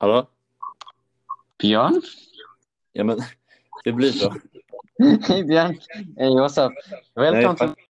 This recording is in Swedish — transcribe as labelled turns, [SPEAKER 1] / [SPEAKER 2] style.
[SPEAKER 1] Hallå?
[SPEAKER 2] Björn?
[SPEAKER 1] Ja men, det blir så.
[SPEAKER 2] Hey Björn! Hey, what's up? Welcome
[SPEAKER 1] Nej,
[SPEAKER 2] to